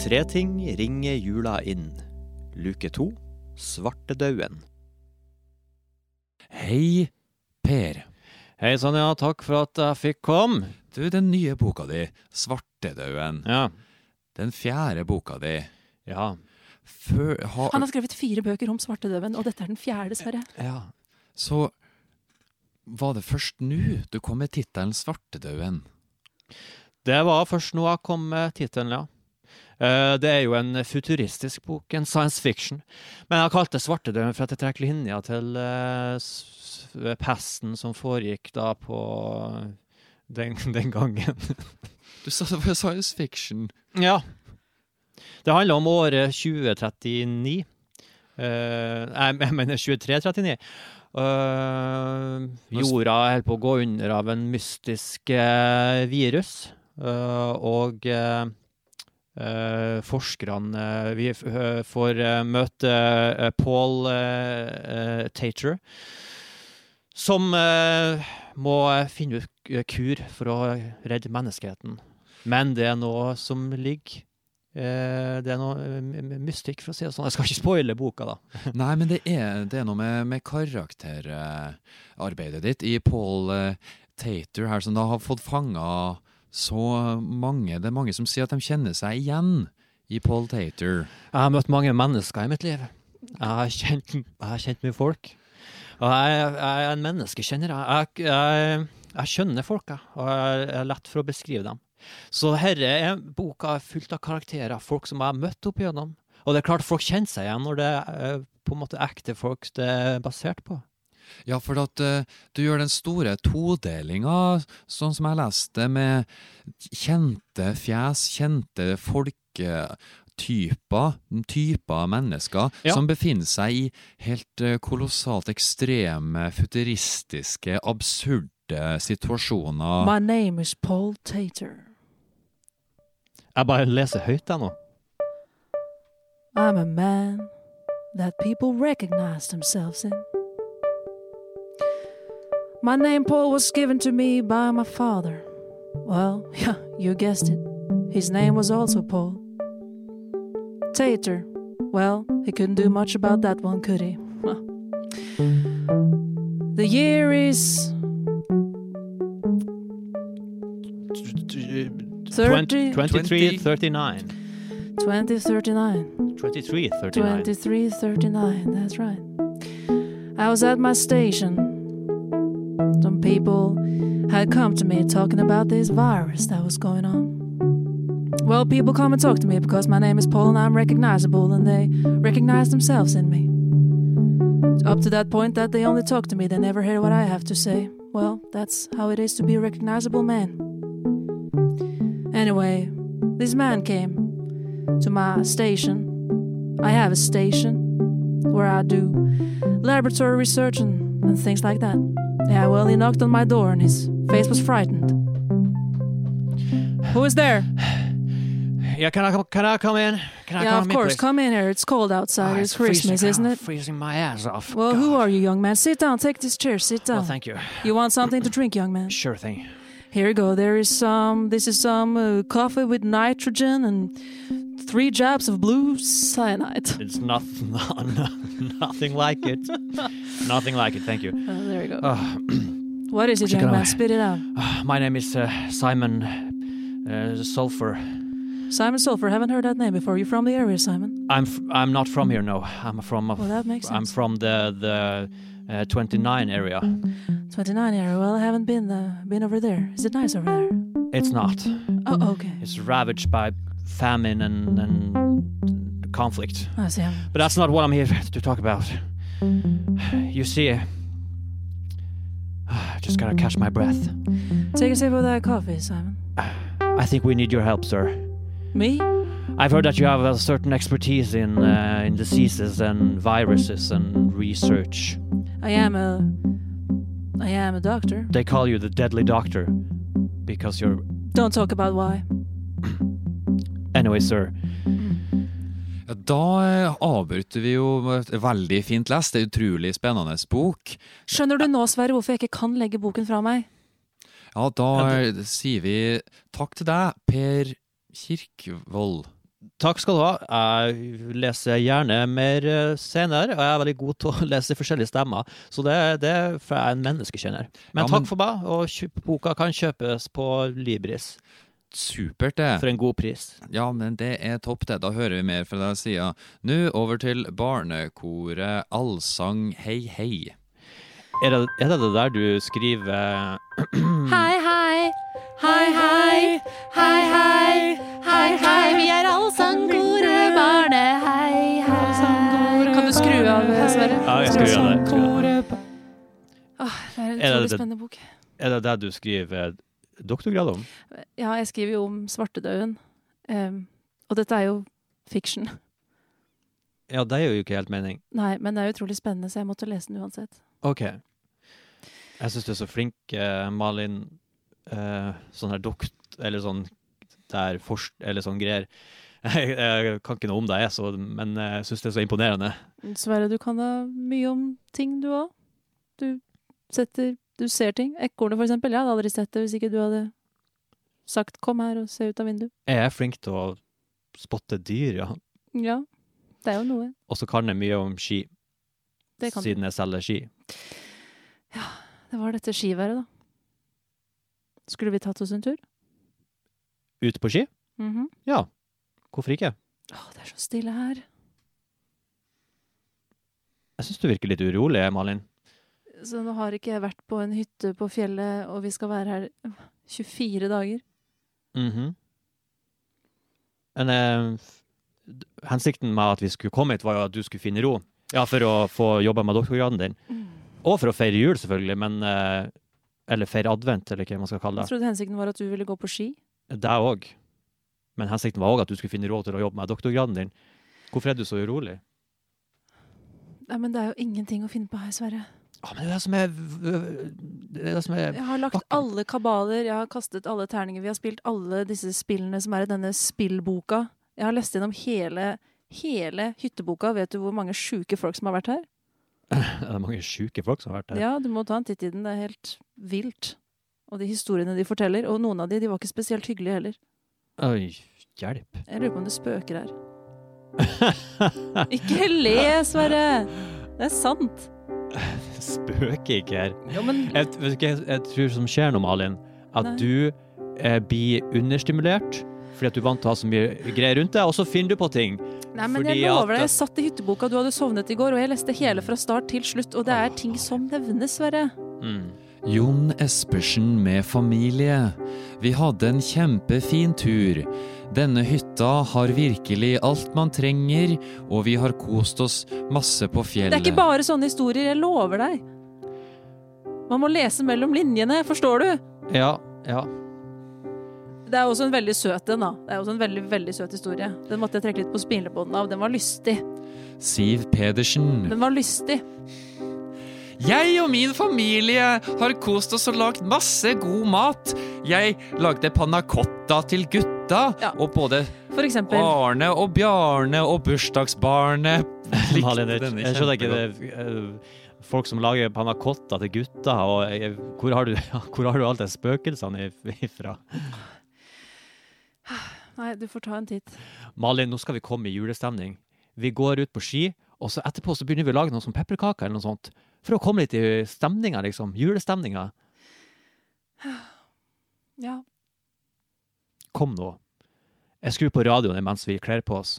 Tre ting ringer jula inn. Luke to Svartedauden. Hei, Per. Hei sann, ja. Takk for at jeg fikk komme. Du, den nye boka di, 'Svartedauden', Ja. den fjerde boka di Ja. Før, ha, Han har skrevet fire bøker om svartedauden, og dette er den fjerde, dessverre. ja. Så var det først nå du kom med tittelen 'Svartedauden'? Det var først nå jeg kom med tittelen, ja. Eh, Det er jo en futuristisk bok, en science fiction. Men jeg kalte det Svartedauden for at jeg trekker linja til eh, s- s- pesten som foregikk da på den, den gangen. Du sa det var science fiction. Ja. Det handler om året 2039. Eh, jeg, jeg mener 2339. Eh, jorda holder på å gå under av en mystisk eh, virus. Eh, og eh, eh, forskerne eh, Vi f eh, får eh, møte eh, Paul eh, eh, Tater, som eh, må finne ut k- kur for å redde menneskeheten. Men det er noe som ligger eh, Det er noe eh, m- mystikk, for å si det sånn. Jeg skal ikke spoile boka, da. Nei, men det er, det er noe med, med karakterarbeidet ditt i Paul eh, Tater her, som da har fått fanga så mange Det er mange som sier at de kjenner seg igjen i Paul Tater. Jeg har møtt mange mennesker i mitt liv. Jeg har kjent, jeg har kjent mye folk. Og jeg, jeg er en menneskekjenner. Jeg, jeg, jeg, jeg skjønner folk, jeg. Og jeg er lett for å beskrive dem. Så herre er boka er fullt av karakterer, folk som jeg har møtt opp igjennom. Og det er klart folk kjenner seg igjen når det er eh, på en måte ekte folk det er basert på. Ja, for at eh, du gjør den store todelinga, sånn som jeg leste, med kjente fjes, kjente folketyper, typer av mennesker, Ja. som befinner seg i helt eh, kolossalt ekstreme, futuristiske, absurde situasjoner. My name is Paul Tater. Jeg bare leser høyt, jeg nå. I'm a man that people recognize themselves in. My name, Paul, was given to me by my father. Well, yeah, you guessed it. His name was also Paul. Tater. Well, he couldn't do much about that one, could he? the year is 30, 2339. 2339. 2039. 2339, that's right. I was at my station. Some people had come to me talking about this virus that was going on. Well, people come and talk to me because my name is Paul and I'm recognizable and they recognize themselves in me. Up to that point that they only talk to me, they never hear what I have to say. Well, that's how it is to be a recognizable man. Anyway, this man came to my station I have a station where I do laboratory research and, and things like that. Yeah, well, he knocked on my door and his face was frightened. Who is there? Yeah, can I come, can I come in? Can I yeah, come of in, course. please? Come in here. It's cold outside. Ah, it's Christmas, freezing, isn't ah, it? Freezing my ass off. Well, who God. are you, young man? Sit down. Take this chair. Sit Well, down. thank you. you want something to drink, young man? Sure thing. Here you go. There is some. This is some uh, coffee with nitrogen and three jabs of blue cyanide. It's not, nothing like it. nothing like it. Thank you. Uh, there you go. Ah, what is it, check it young man? out. Spit it out. my name is uh, Simon uh, Sulfur. Simon Sulphur, haven't heard that name before. You from the area, Simon? I'm f- I'm not from here. No, I'm from Well, that makes Oh, I'm sense. from the the uh, 29 area. 29 area. Well, I haven't been uh, been over there. Is it nice over there? It's not. Mm-hmm. Oh, okay. It's ravaged by famine and and conflict. I see. But that's not what I'm here to talk about. You see, I just gotta catch my breath. Take a sip of that coffee, Simon. I think we need your help, sir. Me? I've heard that you have a certain expertise in uh, in diseases and viruses and research. I am a I am a doctor. They call you the deadly doctor because you're. Don't talk about why. Anyway, sir. Ja, Da eh, avbryter vi jo et veldig fint lest, det er utrolig spennende bok. Skjønner du nå, Sverre, hvorfor jeg ikke kan legge boken fra meg? Ja, da eh, sier vi takk til deg, Per Kirkvold. Takk skal du ha. Jeg leser gjerne mer eh, senere, og jeg er veldig god til å lese forskjellige stemmer. Så det, det er for jeg er en menneskekjenner. Men Ja, men- takk for meg, og kjøp, boka kan kjøpes på Libris Supert, det. for en god pris. Ja, men det er topp, det. Da hører vi mer fra deg sida. Nå over til barnekoret Allsang hei hei. Er det, er det det der du skriver Hei, hei. Hei, hei. Hei, hei. Hei, hei. Vi er allsangkoret barne. Hei, hei. Kan du skru av, Sverre? Ja, jeg skrur av det, skrur av Åh, det er Er det en utrolig det- spennende bok. Er det det du skriver doktorgrad om? Ja, jeg skriver jo om svartedauden. Em, og dette er jo fiction. Ja, det gjør jo ikke helt mening. Nei, men det er utrolig spennende, så jeg måtte lese den uansett. OK. Jeg syns du er så flink, eh, Malin. Eh, sånn her dokt... Eller sånn der forsk... Eller sånn greier. Jeg, jeg kan ikke noe om deg, jeg, så, men eh, jeg syns det er så imponerende. Sverre, du kan da mye om ting, du òg. Du setter Du ser ting. Ekornet, for eksempel. Jeg hadde aldri sett det hvis ikke du hadde sagt 'kom her og se ut av vinduet'. Jeg er flink til å spotte dyr, ja. Ja. Det er jo noe. Og så kan jeg mye om ski, Det kan du. siden jeg selger ski. Det var dette skiværet, da. Skulle vi tatt oss en tur? Ut på ski? Mhm. Hvorfor ikke? Å, det er så stille her. Jeg syns du virker litt urolig, Malin. Så nå har ikke jeg vært på en hytte på fjellet, og vi skal være her 24 dager. Mhm. Men eh, f- d- hensikten med at vi skulle komme hit, var jo at du skulle finne ro. Ja, for å få jobba med doktorgraden din. Og for å feire jul, selvfølgelig, men eh, Eller feire advent, eller hva man skal kalle Jeg det. trodde hensikten var at du ville gå på ski. Deg òg. Men hensikten var òg at du skulle finne råd til å jobbe med doktorgraden din. Hvorfor er du så urolig? Nei, men det er jo ingenting å finne på her, Sverre. Ah, men det er det som er Det er det som er Jeg har lagt Bakken. alle kabaler, jeg har kastet alle terninger, vi har spilt alle disse spillene som er i denne spillboka. Jeg har lest gjennom hele, hele hytteboka. Vet du hvor mange sjuke folk som har vært her? Det er mange sjuke folk som har vært her. Ja, du må ta en titt i den. Det er helt vilt. Og de historiene de forteller. Og noen av de, de var ikke spesielt hyggelige heller. Oi, hjelp. Jeg lurer på om det spøker her. Ikke le, Sverre! Det er sant. Spøker ikke her. Jo, men Jeg, vet du hva jeg, jeg tror som skjer nå, Malin, at Nei. du eh, blir understimulert fordi at du er vant til å ha så mye greier rundt deg, og så finner du på ting. Nei, men Fordi jeg at- lover deg, jeg satt i hytteboka, du hadde sovnet i går, og jeg leste hele fra start til slutt, og det er ting som nevnes, Sverre. Mm. Jon Espersen med familie. Vi hadde en kjempefin tur. Denne hytta har virkelig alt man trenger, og vi har kost oss masse på Det er fjellet. ikke bare sånne historier, jeg lover deg. Man må lese mellom linjene, forstår du? Ja, ja. Det er også en veldig søt en, da. Det er også en veldig, veldig søt historie. Den måtte jeg trekke litt på spinebåndet av. Den var lystig. Siv Pedersen. Den var lystig. Jeg og min familie har kost oss og lagd masse god mat. Jeg lagde panna cotta til gutta, Ja. og både For eksempel. Arne og Bjarne og bursdagsbarnet Malin, jeg, denne jeg skjønner ikke det, kjempegodt. eh, Folk som lager panna cotta til gutter, og jeg, hvor, har du, hvor har du alt de spøkelsene if- ifra? Nei, du får ta en titt. Malin, nå skal vi komme i julestemning. Vi går ut på ski, og så etterpå så begynner vi å lage noe som pepperkaker eller noe sånt. For å komme litt i stemninga, liksom. Julestemninga. Ja. Kom nå. Jeg skrur på radioen mens vi kler på oss.